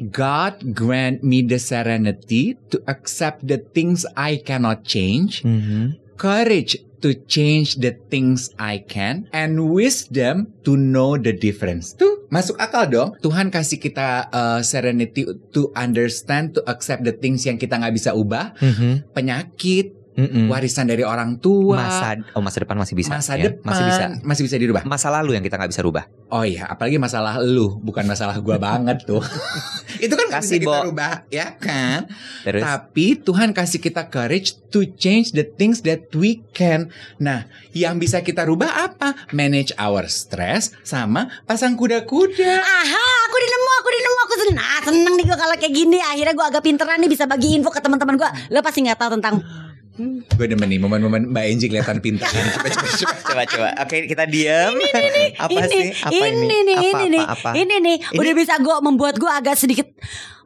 S3: God grant me the serenity To accept the things I cannot change
S5: Mm-hmm.
S3: Courage to change the things I can and wisdom to know the difference. Tuh, masuk akal dong. Tuhan kasih kita uh, serenity to understand, to accept the things yang kita nggak bisa ubah,
S5: Mm-hmm.
S3: penyakit,
S5: Mm-mm.
S3: warisan dari orang tua,
S5: Mm-hmm. Mm. masa oh masa depan masih bisa
S3: masa
S5: ya?
S3: depan,
S5: masih bisa
S3: masih bisa dirubah.
S5: masa lalu yang kita nggak bisa rubah
S3: Oh iya, apalagi masalah lu, bukan masalah [LAUGHS] gua banget tuh. Itu kan nggak bisa
S5: Kasih,
S3: kita
S5: Bo.
S3: rubah, ya kan?
S5: terus
S3: Tapi Tuhan kasih kita courage to change the things that we can. Nah, yang bisa kita rubah apa? Manage our stress sama pasang kuda-kuda.
S4: Aha, aku udah nemu, aku udah nemu, aku seneng. Nah, seneng nih gue kalau kayak gini. Akhirnya gue agak pinteran nih bisa bagi info ke teman-teman gue. Lo pasti nggak tahu tentang
S3: Gue demen nih momen-momen Mbak Enji kelihatan pintar. [LAUGHS] Coba, coba, coba.
S5: coba coba oke kita diam apa sih
S4: ini,
S5: apa ini,
S4: nih,
S5: apa,
S4: ini nih,
S5: apa, apa?
S4: ini nih. Udah bisa gue membuat gue agak sedikit,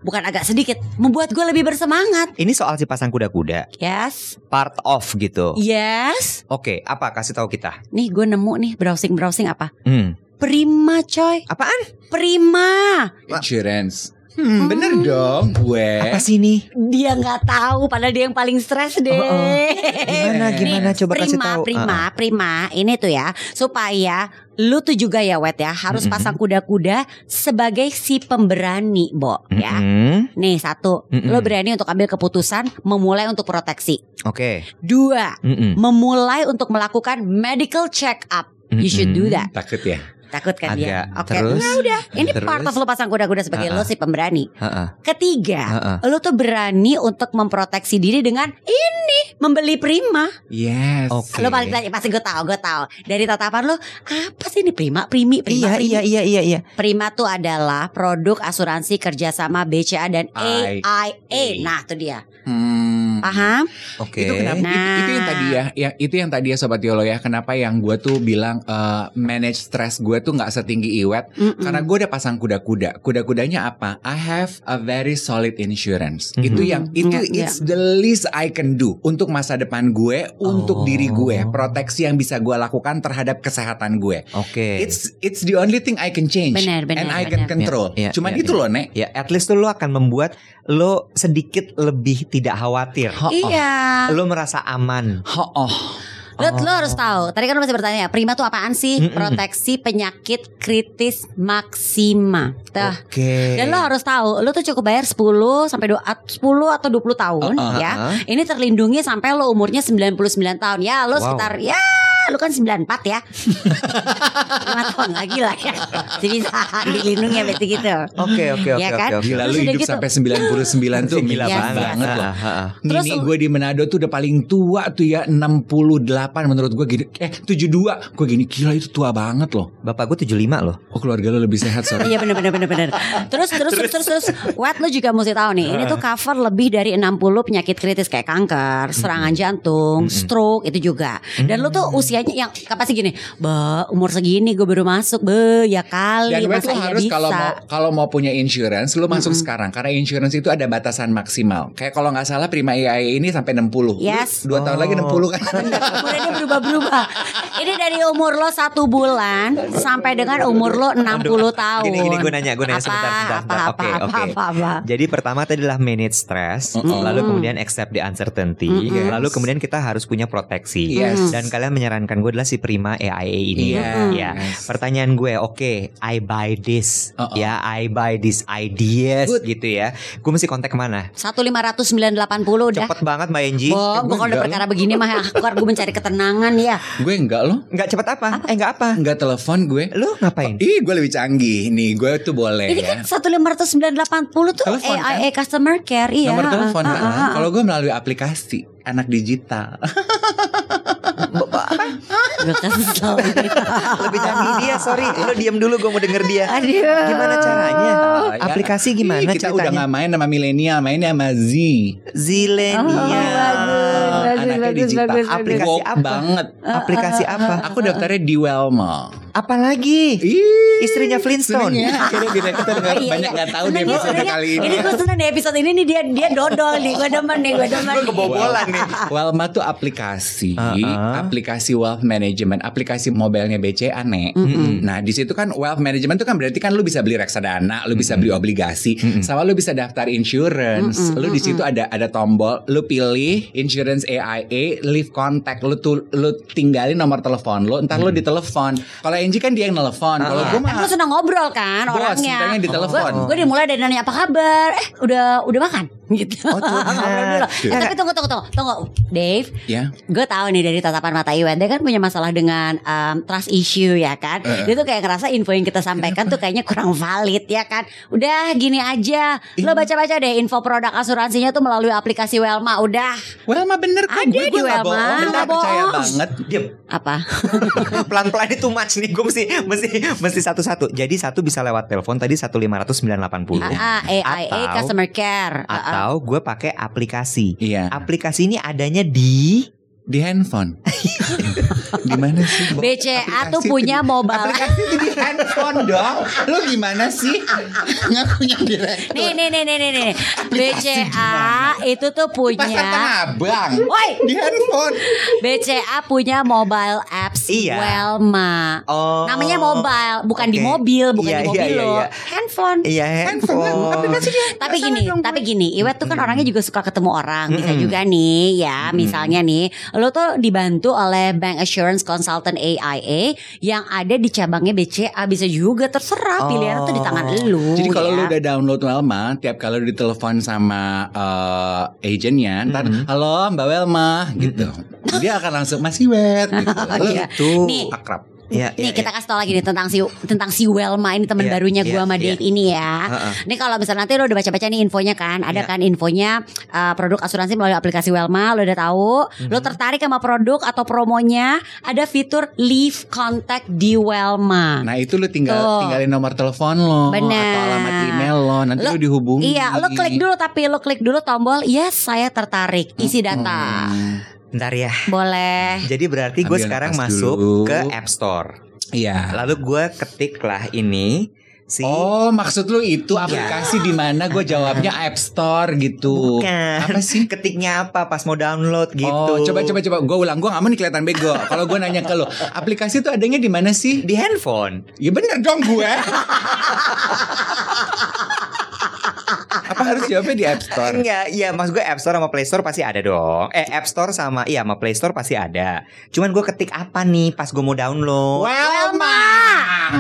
S4: bukan agak sedikit, membuat gue lebih bersemangat.
S5: ini soal si pasang kuda-kuda
S4: Yes,
S5: part of gitu
S4: yes.
S5: oke apa kasih tahu kita
S4: Nih gue nemu nih browsing browsing apa?
S5: hmm.
S4: Prima coy,
S5: apaan
S4: prima.
S3: Insurance. Hmm, bener dong
S5: apa
S3: gue.
S5: sih ini
S4: Dia nggak tahu, padahal dia yang paling stres deh.
S5: Oh, oh. gimana
S3: Yes.
S5: gimana coba
S4: prima,
S5: kasih tahu Ah.
S4: Prima, prima, ini tuh ya supaya lu tuh juga ya wet ya harus
S5: Mm-mm.
S4: pasang kuda-kuda sebagai si pemberani, Bo,
S5: Heeh.
S4: ya.
S5: Mm-mm.
S4: Nih satu,
S5: Mm-mm.
S4: lu berani untuk ambil keputusan, memulai untuk proteksi.
S5: oke
S4: Dua,
S5: Mm-mm.
S4: memulai untuk melakukan medical check up. You should do that.
S3: Takut ya.
S4: Takut kan dia? Oke.
S5: Agak. Terus?
S4: Nah udah, ini
S5: Terus? Ah,
S4: part of lo pasang kuda-kuda sebagai lo
S5: Ha-ha.
S4: si pemberani.
S5: Heeh.
S4: Ketiga,
S5: Heeh.
S4: lo tuh berani untuk memproteksi diri dengan ini membeli prima.
S3: Yes.
S5: Oke.
S4: Lo balik lagi pasti gue tahu, gue tahu. Dari tatapan lo, apa sih ini prima, primi, prima,
S5: Iya
S4: primi?
S5: iya iya iya iya.
S4: Prima tuh adalah produk asuransi kerjasama BCA dan
S3: I-
S4: AIA.
S5: Iya.
S4: Nah, itu dia.
S3: Hmm.
S4: Paham?
S5: Oke.
S3: Itu kenapa? itu-
S4: Nah.
S3: Itu, yang tadi ya, yang itu yang tadi ya sobat Yolo ya. Kenapa yang gue tuh bilang eh, manage stress gue tuh nggak setinggi Iwet?
S4: Mm-mm.
S3: Karena gue udah pasang kuda-kuda. Kuda-kudanya apa? I have a very solid insurance.
S5: Mhm.
S3: Itu yang itu
S4: Iya, iya.
S3: it's the least I can do untuk masa depan gue, untuk
S5: Oh.
S3: diri gue, proteksi yang bisa gue lakukan terhadap kesehatan gue.
S5: Oke.
S3: It's it's the only thing I can change
S4: Benar, benar,
S3: and I
S4: benar.
S3: can
S4: ya,
S3: control.
S5: Iya, iya,
S3: Cuman
S5: iya,
S3: itu
S5: iya.
S3: loh, Nek.
S5: Ya, at least tuh lo akan membuat lo sedikit lebih tidak khawatir.
S4: Iya.
S5: Lo merasa aman.
S3: Ha oh.
S4: Lo, lo harus tahu. Tadi kan lo masih bertanya, prima tuh apaan sih?
S5: Mm-mm.
S4: Proteksi penyakit kritis maksima. Tuh.
S5: Oke.
S4: Dan lo harus tahu, lo tuh cukup bayar 10 sampai dua- 10 atau 20
S5: Oh,
S4: tahun
S3: Uh-uh.
S4: ya. Ini terlindungi sampai lo umurnya 99 tahun. Ya, lo
S5: Wow.
S4: sekitar ya lu kan 94
S5: [LAUGHS]
S4: ya 5 tahun lagi lah ya Jadi bisa dilindungi ya, sampai segitu
S5: Oke oke
S4: Iya
S5: oke
S4: kan?
S5: oke.
S3: Gila
S4: Terus
S3: lu
S4: udah
S3: hidup
S4: gitu.
S3: sampai 99
S4: [LAUGHS]
S3: tuh
S5: Gila
S3: amazing
S4: banget.
S3: banget loh.
S5: Ah, ah, ah.
S4: Terus-
S3: Nenek gue di Manado tuh udah paling tua tuh ya 68 menurut gue gini Eh 72 Gue gini gila itu tua banget loh
S5: Bapak gue 75 loh.
S3: Oh keluarga lo lebih sehat sorry
S4: Iya benar benar benar benar. Terus terus terus terus terus What lu juga mesti tahu nih, ini tuh cover lebih dari 60 penyakit kritis kayak kanker, serangan jantung, stroke itu juga. Dan lu tuh usianya yang apa sih gini, "Ba, umur segini gue baru masuk, be ya kali
S3: Dan gue
S4: masa
S3: tuh
S4: [LAUGHS] iya
S3: harus
S4: bisa."
S3: kalau mau kalau mau punya insurance lu masuk sekarang karena insurance itu ada batasan maksimal. Kayak kalau nggak salah Prima IAI ini sampai 60.
S4: Yes.
S3: Lu, dua tahun
S5: Oh.
S3: lagi 60 kan.
S4: [LAUGHS]
S3: [LAUGHS]
S4: Umurnya dia berubah-berubah. Ini dari umur lo satu bulan sampai dengan umur lo 60 tahun.
S5: ah, Gini gini gue nanya gue nanya
S4: Apa,
S5: sebentar sebentar.
S4: apa,
S5: sebentar.
S4: apa,
S5: Oke
S4: apa,
S5: oke.
S4: apa, apa.
S5: Jadi pertama tadi adalah manage stress,
S3: Mm-mm.
S5: lalu kemudian accept the uncertainty,
S3: Mm-mm.
S5: lalu kemudian kita harus punya proteksi.
S3: Yes.
S5: Dan kalian menyarankan gue adalah si Prima AIA ini.
S3: Iya.
S5: Ya. Pertanyaan gue, oke, I buy this,
S3: Uh-uh.
S5: ya, I buy this ideas,
S3: Good.
S5: gitu ya. Gue mesti kontak kemana?
S4: 1.500.980 udah.
S5: Cepet banget Mbak Enji.
S4: Bo, gue kalau udah
S3: eh, enggak.
S4: perkara begini mah aku gue mencari ketenangan ya.
S3: Gue enggak loh.
S5: Nggak cepet apa? Eh nggak apa?
S3: Enggak telepon gue.
S5: Lu ngapain?
S3: Ih gue lebih canggih nih Gue tuh boleh
S4: Ini
S3: ya
S4: kan 15980 tuh
S3: Telepon, kan?
S4: AIA customer care iya.
S3: Nomor telepon
S4: Ah,
S3: kan?
S4: ah, ah, ah.
S3: Kalau gue melalui aplikasi anak digital.
S4: Gua kesel.
S5: Lebih canggih dia,
S3: [LAUGHS]
S5: sorry. Lu diam dulu, gue mau denger dia.
S4: Aduh.
S5: Gimana caranya?
S3: Oh, ya.
S5: Aplikasi gimana
S3: Ih, kita udah nggak
S5: ceritanya?
S3: main sama milenial, mainnya sama Z. Iya,
S5: Zilenia.
S4: Oh, bagus,
S5: Anaknya
S4: bagus,
S5: digital.
S4: bagus, bagus.
S5: aplikasi
S3: Woke
S5: apa?
S3: banget.
S5: aplikasi
S3: Uh,
S5: apa?
S3: Aku daftarnya di Welmo.
S5: Apa lagi?
S3: Ih,
S5: Istrinya Flintstone.
S3: seneng ya. Akhirnya kita, kita nggak-
S4: Iya,
S3: banyak
S4: iya.
S3: nggak tahu deh
S4: Seneng ya,
S3: episode
S4: seneng ya.
S3: kali ini.
S4: Ini gue seneng deh episode ini nih dia dia dodol nih. Gue demen nih, gue demen. nih.
S5: kebobolan
S3: [LAUGHS]
S5: nih.
S3: Welma tuh aplikasi,
S5: Uh-uh.
S3: aplikasi wealth management, aplikasi mobilnya BCA nek. Nah di situ kan wealth management itu kan berarti kan lu bisa beli reksadana, lu bisa beli obligasi, sama lu bisa daftar insurance. Lu di situ ada ada tombol, lu pilih insurance AIA, leave contact, lu tuh lu tinggalin nomor telepon lu, ntar lu ditelepon. Kalau Angie kan dia yang nelpon, kalau
S5: Uh-uh.
S3: gue
S4: Kan lu
S3: mah
S4: seneng ngobrol kan
S3: Bos,
S4: orangnya.
S3: mintanya ditelepon.
S4: Gue dimulai dari nanya apa kabar. Eh, udah udah makan [LAUGHS] gitu.
S5: Oh, curhat.
S4: Ngobrol dulu.
S3: Iya.
S4: Eh, tapi tunggu tunggu tunggu. Tunggu, Dave.
S3: ya.
S4: Gue tahu nih dari tatapan mata Iwan Dia kan punya masalah dengan em, trust issue ya kan Dia tuh kayak ngerasa info yang kita sampaikan tuh kayaknya kurang valid ya kan Udah gini aja Lo
S3: Iya.
S4: baca-baca deh info produk asuransinya tuh melalui aplikasi Welma Udah
S3: Welma bener kan?
S4: Ada
S3: Gue- gue
S4: di Welma,
S3: nggak bohong, gue
S4: nggak
S3: percaya
S4: bohong.
S3: banget.
S5: Diam.
S4: Apa?
S5: Pelan-pelan itu much nih. Gue mesti mesti mesti satu-satu. Jadi satu bisa lewat telepon tadi
S3: Iya.
S5: 1580980.
S4: AIA
S5: Atau-
S4: Customer Care
S3: Uh,
S4: Ah, ah.
S5: Atau gue pakai aplikasi.
S3: Iya.
S5: Aplikasi ini adanya di
S3: Di handphone. [LAUGHS] di mana sih? Bo?
S4: BCA tuh
S3: Aplikasi
S4: punya
S3: itu di-
S4: mobile
S3: Aplikasi itu di handphone dong. Lu gimana sih? Ngakunya direktur.
S4: Nih nih nih nih nih nih. BCA itu tuh
S3: Di Pasar Tanah
S4: punya
S3: Abang.
S4: Woi,
S3: Di handphone.
S4: BCA punya mobile apps
S5: Iya.
S4: Welma.
S5: oh
S4: Namanya mobile, bukan di
S5: Oke.
S4: mobil, bukan
S5: Iya,
S4: di
S5: iya,
S4: mobil
S5: iya,
S4: lo.
S5: iya.
S4: Handphone.
S5: Iya
S3: Kan
S5: handphone.
S4: Tapi gini, tapi
S3: ya?
S4: gini, Iwet tuh kan orangnya juga suka ketemu orang, bisa juga nih ya, misalnya nih, lo tuh dibantu oleh Bank Assurance Consultant AIA yang ada di cabangnya BCA bisa juga terserah
S5: Oh.
S4: pilihan tuh di tangan lo.
S3: Jadi kalau
S4: ya.
S3: lu udah download Welma, tiap kali lu ditelepon sama eh, agennya, ntar Mm-hmm. halo Mbak Welma gitu. Dia akan langsung masih wet gitu. Lu
S4: [LAUGHS] Iya.
S3: itu
S4: Nih.
S3: akrab.
S5: Iya,
S4: nih
S5: iya,
S4: kita kasih tau lagi nih tentang si tentang si Welma ini teman
S5: Iya,
S4: barunya
S5: iya,
S4: gua sama
S5: iya.
S4: Dave ini ya.
S5: Heeh.
S4: Ini kalau misalnya nanti lo udah baca-baca nih infonya kan, ada
S5: Iya.
S4: kan infonya uh, produk asuransi melalui aplikasi Welma, lo udah tahu. Lo
S5: Mhm.
S4: tertarik sama produk atau promonya? Ada fitur leave contact di Welma.
S3: Nah itu lu tinggal
S4: Ah. Tuh.
S3: tinggalin nomor telepon lo
S4: Benar.
S3: atau alamat email lo nanti
S4: Lo-
S3: lo,
S5: Nah,
S3: dihubungi.
S4: Iya, lo klik dulu tapi lo klik dulu tombol yes saya tertarik,
S5: Mhm.
S4: isi data.
S3: Hmm.
S5: Bentar ya.
S4: Boleh.
S5: Jadi berarti gue
S3: Ambil
S5: sekarang
S3: nafas dulu.
S5: masuk ke App Store.
S3: Iya.
S5: Lalu gue ketiklah ini si
S3: Oh maksud lu itu
S5: Iya.
S3: aplikasi di mana gue jawabnya App Store gitu.
S5: bukan.
S3: Apa sih?
S5: Ketiknya apa pas mau download gitu.
S3: Oh, coba coba coba gue ulang gue gak mau nih kelihatan bego. Kalau gue nanya ke lo, aplikasi itu adanya di mana sih?
S5: di handphone.
S3: Ya bener dong
S5: [LAUGHS]
S3: gue. Apa harus jawabnya di App Store?
S5: Enggak, iya maksud gue App Store sama Play Store pasti ada dong. Eh App Store sama iya sama Play Store pasti ada. Cuman gue ketik apa nih pas gue mau download?
S3: Welma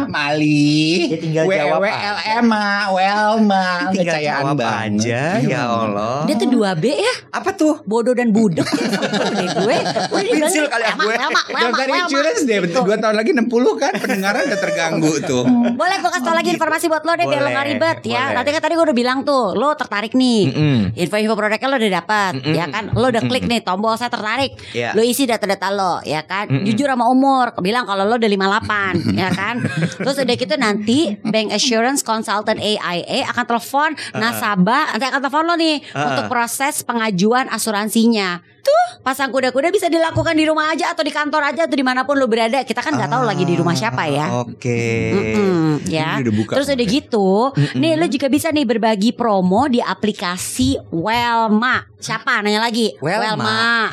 S3: Mali
S5: Ya tinggal jawab
S3: WWLM Welma
S5: Tinggal
S3: Kecayaan
S5: jawab
S3: banget.
S5: aja, ya Allah.
S4: Oh, Dia tuh 2B ya,
S5: Apa tuh?
S4: bodoh dan budek. Deh gue. [LAUGHS] Udah dibilangin,
S5: Pensil kali ya
S4: "Welma,
S5: gue."
S4: Welma, Welma,
S3: Dokter
S4: Welma. Gitu.
S3: insurance deh Dua tahun lagi 60 kan Pendengaran udah terganggu
S5: [LAUGHS]
S3: tuh
S4: Boleh gue kasih tau lagi informasi buat lo deh biar lo
S5: Oh, gitu. Boleh,
S4: gak ribet ya.
S5: boleh. Mhm.
S4: Nanti kan tadi gue udah bilang tuh, lo tertarik nih.
S5: Mm-mm.
S4: Info-info produknya lo udah dapet
S5: Mm-mm.
S4: Ya kan Lo udah klik nih Tombol saya tertarik
S5: Iya.
S4: Lo isi data-data lo Ya kan
S5: Mm-mm.
S4: Jujur sama umur Bilang kalau lo udah 58 Ya kan Terus udah gitu nanti Bank Assurance Consultant AIA Akan telepon Nasabah Nanti akan telepon lo nih
S5: Uh-uh.
S4: Untuk proses pengajuan asuransinya Tuh Pasang kuda-kuda bisa dilakukan di rumah aja Atau di kantor aja Atau dimanapun lo berada Kita kan nggak tahu lagi di rumah siapa ya
S5: Ah, Oke.
S4: Mm-mm, ya.
S3: Ini udah buka
S4: Terus udah
S3: kemarin.
S4: gitu, nih lo juga bisa nih berbagi promo di aplikasi Welma. Siapa nanya lagi?
S5: Welma.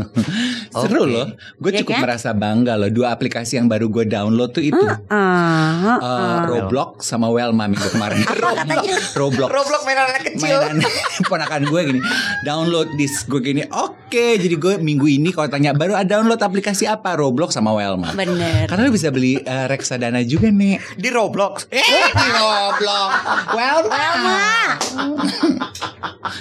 S5: [LAUGHS]
S3: Seru
S5: Oke.
S3: loh Gue
S4: Iya
S3: cukup
S4: kan? Mm.
S3: merasa bangga loh Dua aplikasi yang baru gue download tuh itu
S4: Ah,
S5: Oh.
S3: Eh, Roblox sama Welma minggu
S4: [LAUGHS]
S3: kemarin
S4: katanya?
S3: Roblox
S5: Roblox mainan anak kecil.
S3: mainan [LAUGHS] ponakan gue gini download this gue gini oke jadi gue minggu ini kalau tanya baru ada download aplikasi apa Roblox sama Welma
S4: Bener.
S5: Kan-
S3: karena lu bisa beli eh, reksadana juga nih
S5: Di Roblox.
S3: eh di Roblox Welma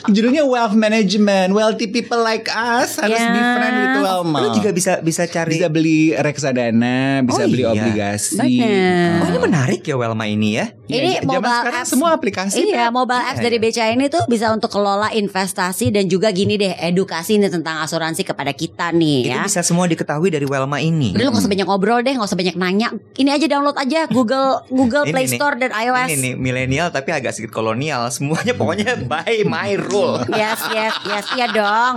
S3: judulnya wealth management wealthy people like us harus
S4: Ya.
S3: be friend with Welma
S5: Lu juga bisa bisa cari.
S3: bisa beli reksadana bisa
S5: Oh,
S3: beli
S5: iya.
S3: obligasi
S4: Bener.
S5: Oh, ini menarik ya Welma ini ya.
S3: Iya,
S4: Ini
S3: zaman
S4: mobile
S3: sekarang
S4: apps.
S3: semua aplikasi
S4: Iya, mobile apps
S5: Iya,
S4: dari
S5: iya.
S4: BCA ini tuh bisa untuk kelola investasi dan juga gini deh, edukasi nih tentang asuransi kepada kita nih ya.
S5: Itu bisa semua diketahui dari Welma ini.
S4: Udah, Lu gak usah banyak ngobrol deh, gak usah banyak nanya. Ini aja download aja Google Google
S5: Ini
S4: Play
S5: nih,
S4: Store dan iOS.
S5: Ini nih milenial tapi agak sedikit kolonial. Semuanya pokoknya by my rule.
S4: Yes, yes, yes, iya dong.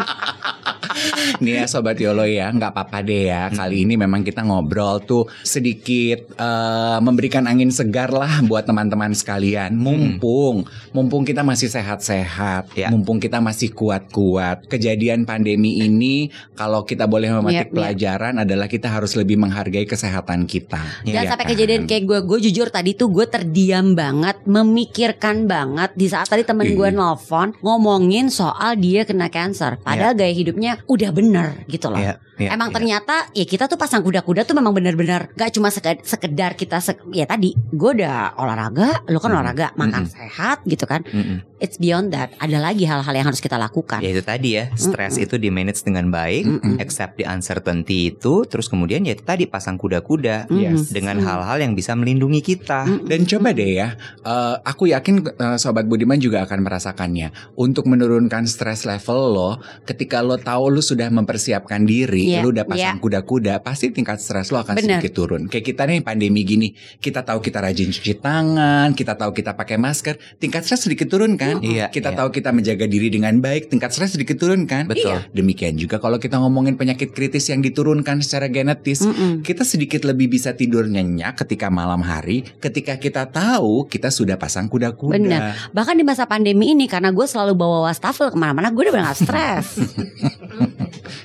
S3: Nih ya Sobat Yolo ya nggak apa-apa deh ya Kali ini memang kita ngobrol tuh Sedikit eh, memberikan angin segar lah Buat teman-teman sekalian Mumpung Mumpung kita masih sehat-sehat
S5: Ya.
S3: Mumpung kita masih kuat-kuat Kejadian pandemi ini Kalau kita boleh
S4: Iya,
S3: memetik
S4: iya.
S3: pelajaran Adalah kita harus lebih menghargai kesehatan kita
S4: Jangan
S3: Iya
S4: sampai
S3: kan?
S4: kejadian kayak gue Gue jujur tadi tuh gue terdiam banget Memikirkan banget Di saat tadi temen gue
S3: Iya.
S4: nelfon Ngomongin soal dia kena cancer Padahal gaya hidupnya udah bener gitu loh
S5: Iya, iya,
S4: Emang
S5: iya.
S4: ternyata ya kita tuh pasang kuda-kuda tuh memang benar-benar gak cuma seked- sekedar kita sek- ya tadi gue udah olahraga, lu kan
S3: Hmm.
S5: Mm-mm.
S4: olahraga, makan
S5: Mm-mm.
S4: sehat gitu kan.
S5: Mm-mm.
S4: It's beyond that. Ada lagi hal-hal yang harus kita lakukan.
S5: Ya itu tadi ya, stres itu di manage dengan baik,
S4: kan? Mm-mm.
S5: accept the uncertainty itu, terus kemudian ya itu tadi pasang kuda-kuda
S4: Mm-mm.
S3: Yes.
S5: dengan hal-hal yang bisa melindungi kita.
S4: Mm-mm.
S3: Iya, Dan coba deh ya, eh, aku yakin eh, sobat Budiman juga akan merasakannya. Untuk menurunkan stres level lo, ketika lo tahu lo sudah mempersiapkan diri,
S4: Iya,
S3: lo udah pasang kuda-kuda, pasti tingkat stres lo akan
S4: Bener.
S3: sedikit turun. Kayak kita nih pandemi gini, kita tahu kita rajin cuci tangan, kita tahu kita pakai masker, tingkat stres sedikit turun kan?
S5: Iya,
S3: Kita
S5: iya.
S3: tahu kita menjaga diri dengan baik, tingkat stres sedikit turun kan?
S5: Betul.
S4: Iya.
S3: Demikian juga kalau kita ngomongin penyakit kritis yang diturunkan secara genetis,
S4: Mm-mm.
S3: kita sedikit lebih bisa tidur nyenyak ketika malam hari ketika kita tahu kita sudah pasang kuda-kuda.
S4: Benar. Bahkan di masa pandemi ini karena gue selalu bawa wastafel kemana-mana gue udah gak stres.
S3: [LAUGHS]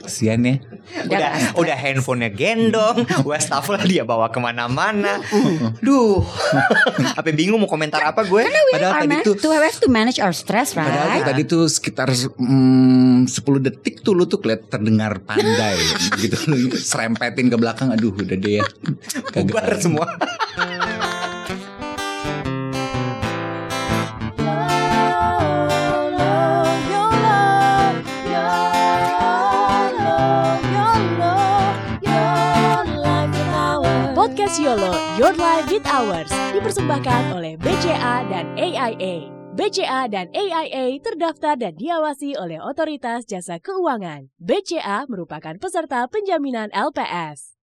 S3: Kesian ya.
S5: Udah,
S4: Udah,
S5: udah handphonenya gendong, wastafel dia bawa kemana-mana. Duh, [LAUGHS] apa bingung mau komentar apa gue?
S3: Padahal
S4: Our
S3: tadi
S4: man-
S3: tuh
S4: to have to manage our stress, right?
S3: padahal tuh tadi tuh sekitar mm, 10 detik tuh lu tuh keliat terdengar pandai gitu lu serempetin ke belakang aduh udah deh ya. Kagak
S5: Bubar
S3: lagi.
S5: semua.
S1: YOLO, YOLO, YOLO, YOLO, your life is ours.
S2: Podcast Podcast YOLO, Your Life with Ours, dipersembahkan oleh BCA dan AIA. BCA dan AIA terdaftar dan diawasi oleh Otoritas Jasa Keuangan. BCA merupakan peserta penjaminan LPS.